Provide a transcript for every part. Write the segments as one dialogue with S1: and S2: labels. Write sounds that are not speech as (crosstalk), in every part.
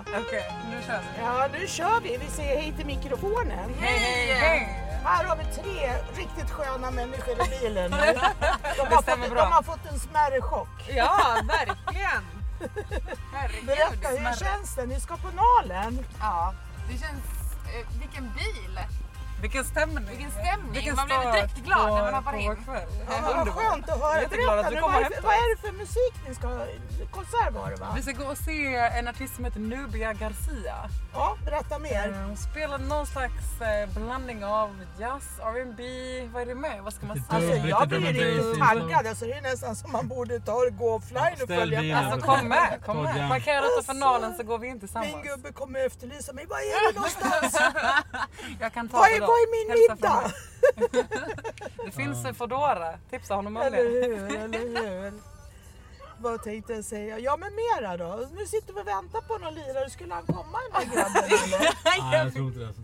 S1: Okej, nu kör vi.
S2: Ja, nu kör vi. Vi säger hej till mikrofonen.
S1: Hej, hej, hej!
S2: Här har vi tre riktigt sköna människor i
S1: (laughs)
S2: bilen. De
S1: Det
S2: har,
S1: stämmer
S2: fått, de
S1: bra.
S2: har fått en smärre chock.
S1: Ja, verkligen! Herregud,
S2: Berätta, hur
S1: smärre.
S2: känns det? Ni ska på Nalen.
S3: Ja, det känns... Eh, vilken bil!
S1: Vilken stämning!
S3: Vilken stämning.
S1: Vilken
S3: Man blir
S1: start
S3: direkt glad när man
S1: på-
S3: hoppar
S1: på
S3: in.
S1: vår kväll.
S2: Ja, vad
S1: Underbart.
S2: skönt att
S1: Jag är
S2: höra.
S1: jätteglad
S2: Berätta
S1: att du
S2: nu,
S1: kommer
S2: vad, är,
S1: hem
S2: för-
S1: till
S2: vad
S1: oss.
S2: är det för musik ni ska... Konsert var det va?
S1: Vi ska gå och se en artist som heter Nubia Garcia.
S2: Ja, berätta mer.
S1: Hon spelar någon slags eh, blandning av jazz, R&B, vad är det med? Vad ska man
S4: Lite
S2: Alltså
S1: säga?
S4: dubbel.
S2: jag blir ju
S4: Dubbel.
S2: taggad. Alltså, det är nästan som man borde ta och gå offline och
S4: liksom. Ställ
S2: följa
S4: dig
S2: med.
S4: in.
S1: Alltså kom med, kom
S4: Ta
S1: med.
S4: igen.
S1: Parkera detta för finalen så går vi in
S2: Min
S1: tillsammans.
S2: gubbe kommer efterlysa mig. Var är du någonstans?
S1: (laughs) Jag kan ta
S2: Var
S1: det
S2: är,
S1: då.
S2: var är min
S1: Hälsa från
S2: middag?
S1: mig. Det finns en Foodora, tipsa honom om
S2: Eller
S1: det.
S2: hur, eller hur. Vad tänkte jag säga? Ja men mera då. Nu sitter vi och väntar på någon lirare. Skulle han komma den
S1: (laughs)
S2: där grabben eller?
S4: Nej, jag tror inte det. Alltså.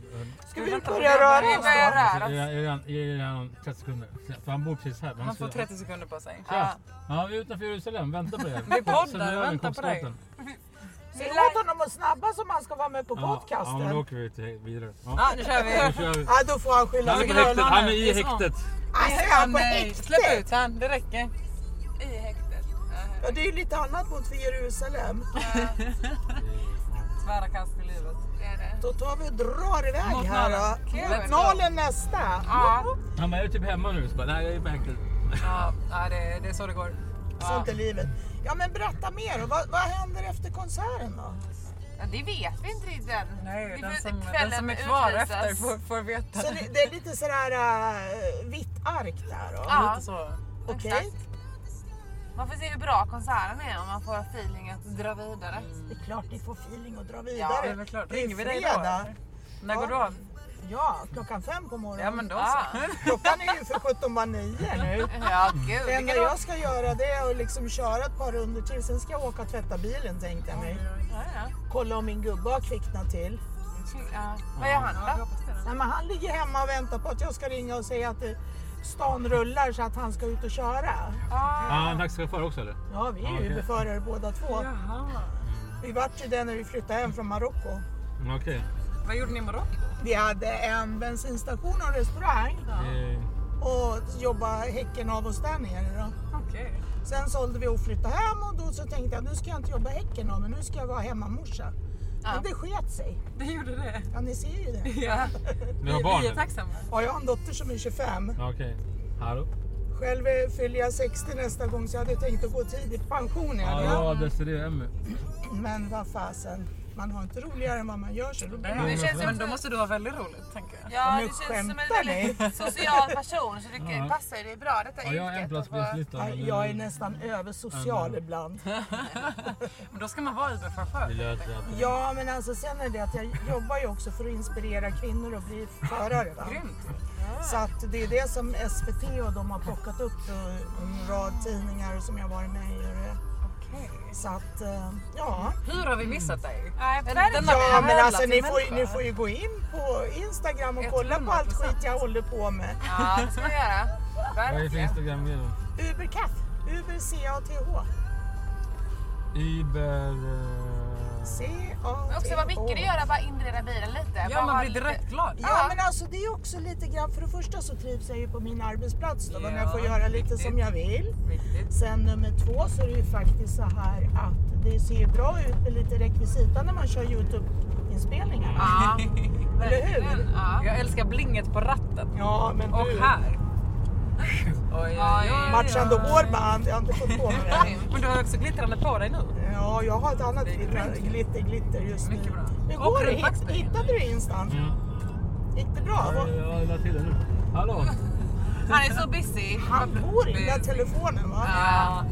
S2: Ska vi börja röra
S3: Vi
S2: oss
S3: börjar
S2: då?
S3: röra oss.
S4: Jag ger honom- jag ger honom 30 sekunder. För han bor precis här.
S1: Han får 30 sekunder på sig.
S4: Ja. ja, vi är utanför Jerusalem. Vänta på dig.
S1: Vi poddar,
S4: Sen gör vi
S1: vänta på dig.
S4: konstnären.
S2: Säg åt honom att snabba så man ska vara med på
S4: Ja, ja, men då
S2: podcasten.
S4: åker vi till, vidare. Ja.
S1: Ah, Ja, nu kör
S2: (laughs)
S4: Nu
S1: vi.
S4: kör vi.
S2: Ja, då får han skylla
S4: Han är
S2: sig
S4: på
S2: själv.
S4: häktet. Han är i häktet.
S2: Alltså, är han på
S1: Nej, Släpp
S2: häktet?
S1: ut han, det räcker.
S2: (laughs)
S3: I häktet.
S2: Ja, det är ju lite annat mot för Jerusalem.
S1: Tvära kast i livet.
S3: Det är det.
S2: Då tar vi och drar iväg
S1: Mot
S2: här
S1: Nalen.
S2: då.
S1: Kul.
S2: Mot Nalen nästa.
S3: Ja,
S4: Han bara, är du typ hemma nu? Så bara, nej, jag är på häktet.
S1: Ja, ja, det, det är så det går.
S2: Sånt är livet. Ja men berätta mer då. Vad, vad händer efter konserten då?
S3: Ja, det vet vi inte riktigt än.
S1: Nej,
S3: Vi
S1: den
S3: får-
S1: som, den
S3: kvällen
S1: som är kvar
S3: utvisas.
S1: efter får, får veta.
S2: Så det, det är lite sådär äh, vitt ark där då?
S3: Ja.
S1: Lite så.
S2: Okej.
S3: exakt. Man får se hur bra konserten är om man får feeling att dra vidare.
S2: Det är klart ni får feeling och dra
S1: Det är
S2: vidare.
S1: väl klart.
S2: Det är
S1: Ringer vi dig då?
S2: fredag.
S1: eller? När går du av?
S2: Ja, klockan fem på morgonen.
S1: Ja men då (laughs)
S3: Ja.
S1: så.
S2: Klockan är ju för 17 var nio nu.
S3: Ja, gud.
S2: Det enda
S3: vilken
S2: jag ska göra det är att liksom köra ett par runder till, sen ska jag åka och tvätta bilen tänkte jag mig.
S3: Ja, ja.
S2: Kolla om min gubbe har kvicknat till.
S3: Ja. Vad gör han då?
S2: Nej, men han ligger hemma och väntar på att jag ska ringa och säga att eh, stan rullar så att han ska ut och köra.
S4: Ja,
S3: Ja,
S4: han är taxichaufför också eller?
S2: Ja, vi är ju
S4: Okej.
S2: Uberförare båda två.
S1: Jaha.
S2: Vi vart ju det när vi flyttade hem från Marocko.
S4: Mm, Okej.
S1: Vad gjorde ni i Marocko?
S2: Vi hade en bensinstation och en restaurang
S4: Eh,
S2: och jobbade häcken av oss där nere. Då.
S1: Okej.
S2: Sen sålde vi och flyttade hem och då så tänkte jag nu ska jag inte jobba häcken av men nu ska jag vara hemmamorsa.
S3: Ja.
S2: Men det sket sig.
S1: Det gjorde det.
S2: Ja, ni ser ju det.
S1: (laughs) Ja.
S4: Du har barn?
S1: Vi är
S4: eller?
S1: tacksamma.
S2: Ja, jag har en dotter som är 25.
S4: Ja, Okej. Hallå?
S2: Själv eh, fyller jag 60 nästa gång så jag hade tänkt att gå tidigt i pension.
S4: Ja,
S2: Ja,
S4: det var Desirée Emmy.
S2: Men vad fasen, man har inte roligare än vad man gör sig rolig.
S4: det känns
S1: Men
S3: också-
S1: då måste du ha väldigt roligt tänker jag.
S3: Ja,
S2: Nu
S3: det känns som en
S2: skämtar ni.
S3: väldigt social person så det
S4: Ja.
S3: passar ju dig bra detta
S4: Ja, jag har en plats på
S3: och-
S4: gästlistan. men-
S2: Jag är nästan översocial ibland.
S1: Men då ska man vara Uber-chaufför.
S4: Det lät rätt.
S2: Ja, men alltså sen är det att jag jobbar ju också för att inspirera kvinnor att bli förare. Va?
S1: Grymt.
S2: Så att det är det som SVT och de har plockat upp och en rad tidningar som jag varit med i. och det.
S1: Okej.
S2: Så att, eh, ja.
S1: Hur har vi missat dig?
S3: Nej,
S1: Den-
S3: verkligen.
S1: den har-
S2: Ja, men alltså
S1: till
S2: ni får, ju-
S1: människa.
S2: ni får ju gå in på Instagram och kolla på allt
S1: 100%.
S2: skit jag håller på med.
S3: Ja, det ska vi göra.
S4: Vad är det för
S3: Verkligen.
S4: Instagram-grej?
S2: Ubercath, Uber C-A-T-H.
S4: Uber... eh,
S2: C-A-T-H.
S3: Men också vad mycket det gör att bara inreda bilen lite. Bara
S1: Ja,
S3: ha
S1: man blir
S3: lite-
S1: direkt glad.
S2: Ja, men alltså det är också lite grann, för det första så trivs jag ju på min arbetsplats då, men jag får
S1: Ja,
S2: göra lite
S1: riktigt.
S2: som jag vill.
S1: Viktigt.
S2: Sen nummer två så är det ju faktiskt så här att det ser ju bra ut med lite rekvisita när man kör Youtube-inspelningarna.
S3: Ja,
S2: (laughs) Eller hur?
S3: verkligen. Ja.
S1: Jag älskar blinget på ratten.
S2: Ja, men
S1: Och
S2: du.
S1: här. Oj,
S3: Oj,
S2: Matchande hårband, jag har inte fått på mig
S1: (laughs)
S2: det.
S1: Men du har också glittrande på dig nu.
S2: Ja, jag har ett annat
S1: Det är
S2: glitter, glitter, glitter just nu.
S1: Mycket bra.
S2: Hur
S1: Och
S2: går det? Hitt-
S1: rundbackspegeln.
S2: Hittade du instan?
S4: Ja,
S2: Gick det bra?
S4: ja,
S2: Vad-
S4: jag la till det nu. Hallå?
S3: Han är så busy.
S2: Han bor i den där telefonen va?
S3: Ja.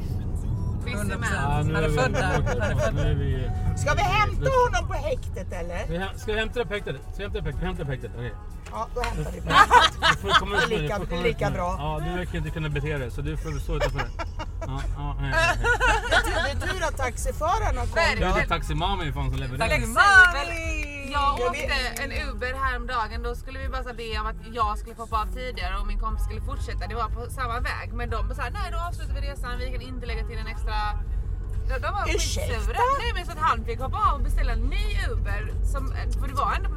S3: Busy
S1: 100%.
S3: man.
S4: Ja, nu
S1: Han är
S4: vi
S1: född där.
S4: tillbaka.
S1: Han är född
S4: Nu är vi...
S2: Ska vi hämta honom på häktet eller?
S4: vi häm- Ska vi hämta upp häktet? Ska vi hämta upp häktet? Vi hämtar upp häktet. Okej.
S2: Ja, då hämtar vi på
S4: Du får
S1: (laughs)
S4: komma ut med
S2: Lika-
S4: du får komma
S2: lika
S4: ut med
S2: bra.
S4: det. Ja, du verkar inte kunna bete dig så du får stå utanför. Ja, ja, hej, hej,
S1: (laughs)
S4: hej.
S2: Det är tur att taxiförarna
S4: Du
S2: kom.
S4: är inte taximami ju fan som levererar.
S1: Flexibel.
S3: Jag
S2: Jag
S3: åkte en Uber häromdagen, då skulle vi bara så här be om att jag skulle hoppa av tidigare och min kompis skulle fortsätta, det var på samma väg. Men de bara såhär, nej då avslutar vi resan, vi kan inte lägga till en extra... De, de var
S2: Ursäkta?
S3: skitsura. Nej men så att han fick hoppa av och beställa en ny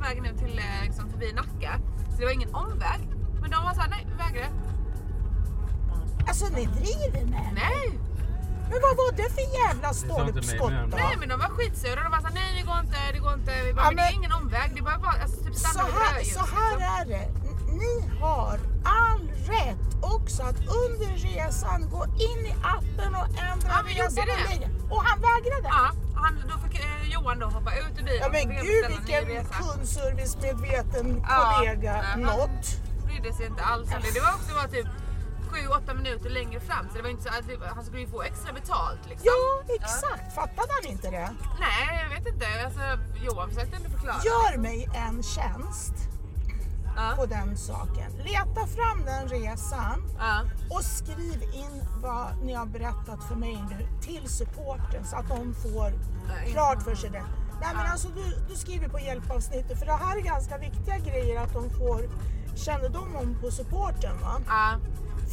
S3: väg nu till eh, liksom, förbi Nacka. Så det var ingen omväg. Men de var såhär, nej vi vägrar.
S2: Alltså ni driver med
S3: Nej!
S2: Men vad var det för jävla
S4: inte mig,
S2: stolpskott
S4: men-
S2: då?
S3: Nej men de var skitsura. De var såhär, nej det går inte, det går inte. Vi bara,
S2: Ja,
S3: men det är
S2: men-
S3: ingen omväg. Det är bara, bara alltså, typ
S2: Så
S3: stanna vid
S2: här,
S3: rödljuset.
S2: så här är det. N- Ni har all rätt också att under resan gå in i appen och ändra
S3: Ja, vi gjorde
S2: resan
S3: det.
S2: och ligga. Och han vägrade.
S3: Ja, han, då fick eh, Johan då hoppa ut ur bilen.
S2: Ja, men
S3: Så fick jag
S2: gud
S3: beställa en ny
S2: vilken
S3: resa.
S2: kundservicemedveten
S3: Ja,
S2: kollega.
S3: nej, han-
S2: Något.
S3: brydde sig inte alls om det. Det var också bara typ 7-8 minuter längre fram så det var inte så att det, han skulle ju få extra betalt liksom.
S2: Ja, exakt. Fattade han inte det?
S3: Nej, jag vet inte. Alltså, Johan försökte ändå förklara.
S2: Gör mig en tjänst
S3: Ja,
S2: på den saken. Leta fram den resan
S3: ja.
S2: och skriv in vad ni har berättat för mig nu till supporten så att de får
S3: Nej.
S2: klart för sig det. Nej men alltså du, du skriver på hjälpavsnittet för det här är ganska viktiga grejer att de får kännedom om på supporten va.
S3: ja.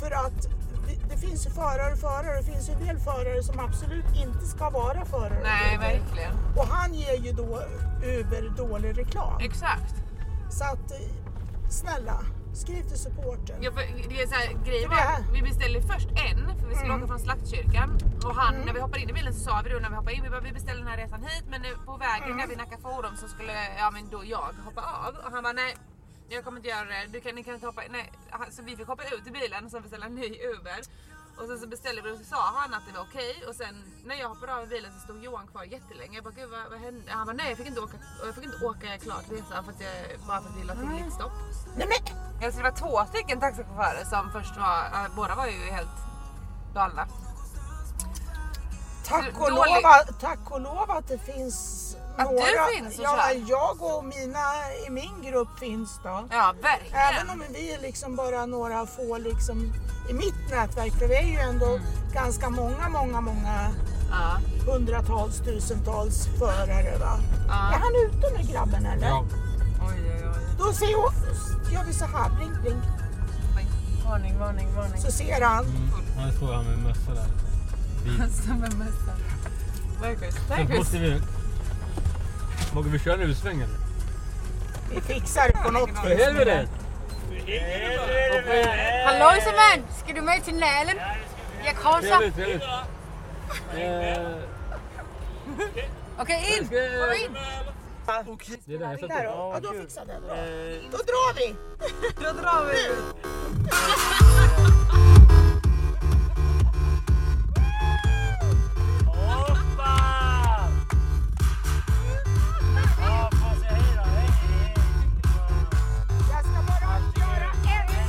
S2: För att vi- det finns ju förare och förare. Det finns ju en del förare som absolut inte ska vara förare.
S3: Nej, verkligen.
S2: Och han ger ju då Uber dålig reklam.
S3: Exakt.
S2: Så att eh, snälla, skriv till supporten.
S3: Ja, för det är så här,
S2: Det
S3: grejen var
S2: är det här. Mm.
S3: att vi beställde först en för vi skulle åka från Slaktkyrkan och han, när vi hoppade in i bilen så sa vi då när vi hoppade in, vi bara vi beställer den här resan hit men nu på vägen
S2: Mm.
S3: där vi Nacka Forum så skulle ja, men då jag hoppa av och han bara nej jag kommer inte göra det, du kan, ni kan inte hoppa in. Nej. Han- Så vi fick hoppa ut i bilen och sen beställa en ny Uber. Och sen så beställde vi och så sa han att det var okej och sen när jag hoppade av i bilen så stod Johan kvar jättelänge. Jag bara gud vad, vad hände? Han bara nej jag fick inte åka, jag fick inte åka klart resan för att jag, bara för att vi la
S2: Mm.
S3: till ett stopp.
S2: Nej, men,
S3: Ja, så det var två stycken taxichaufförer som först var, eh, båda var ju helt galna.
S2: tack, och
S3: Dålig-
S2: lov, att- tack och lov att det finns
S3: Att du
S2: några.
S3: finns och
S2: ja,
S3: kör.
S2: jag och mina i min grupp finns då.
S3: Ja,
S2: Även
S3: verkligen.
S2: om vi är liksom bara några få liksom, i mitt nätverk, för vi är ju ändå ganska många, många, många
S3: Ja,
S2: hundratals, tusentals förare. Va? Är
S3: ja.
S2: han ute med grabben eller?
S4: Ja, mm.
S3: Oj, oj, oj.
S2: Då ser jag, gör vi så här, blink, blink,
S1: Varning, varning, varning.
S2: så ser han.
S4: han står här med mössa där.
S1: Som en mössa. Marcus,
S4: Sen
S1: Marcus.
S4: måste vi... Vågar vi köra en utsväng eller?
S2: Vi fixar det på något
S4: För
S2: vis.
S4: helvete!
S5: Hallojsommen! Skal du med til Nalen? Jeg korser.
S4: Trevligt, trevligt. Eh,
S5: Okay, ind! Kom ind!
S4: Det är där jag
S2: Där
S4: sätter.
S2: då. Ja, då fixade jag det. Bra. Då drar vi!
S1: Då drar vi.
S2: Jag ska bara göra en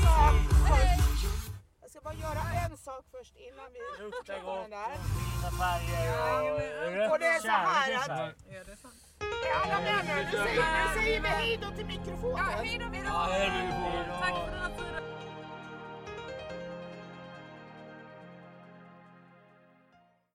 S2: sak först. Jag ska bara göra en sak först innan vi
S6: Luktar
S2: på den
S6: gott
S2: där.
S6: fina färger och
S2: Och det är så här
S6: kärlek.
S2: att...
S1: Ja, det är sant.
S2: Ja, alla vänner, nu säger, nu säger vi hej då till mikrofonen.
S3: Hej då, hej då.
S6: Ja, det är vi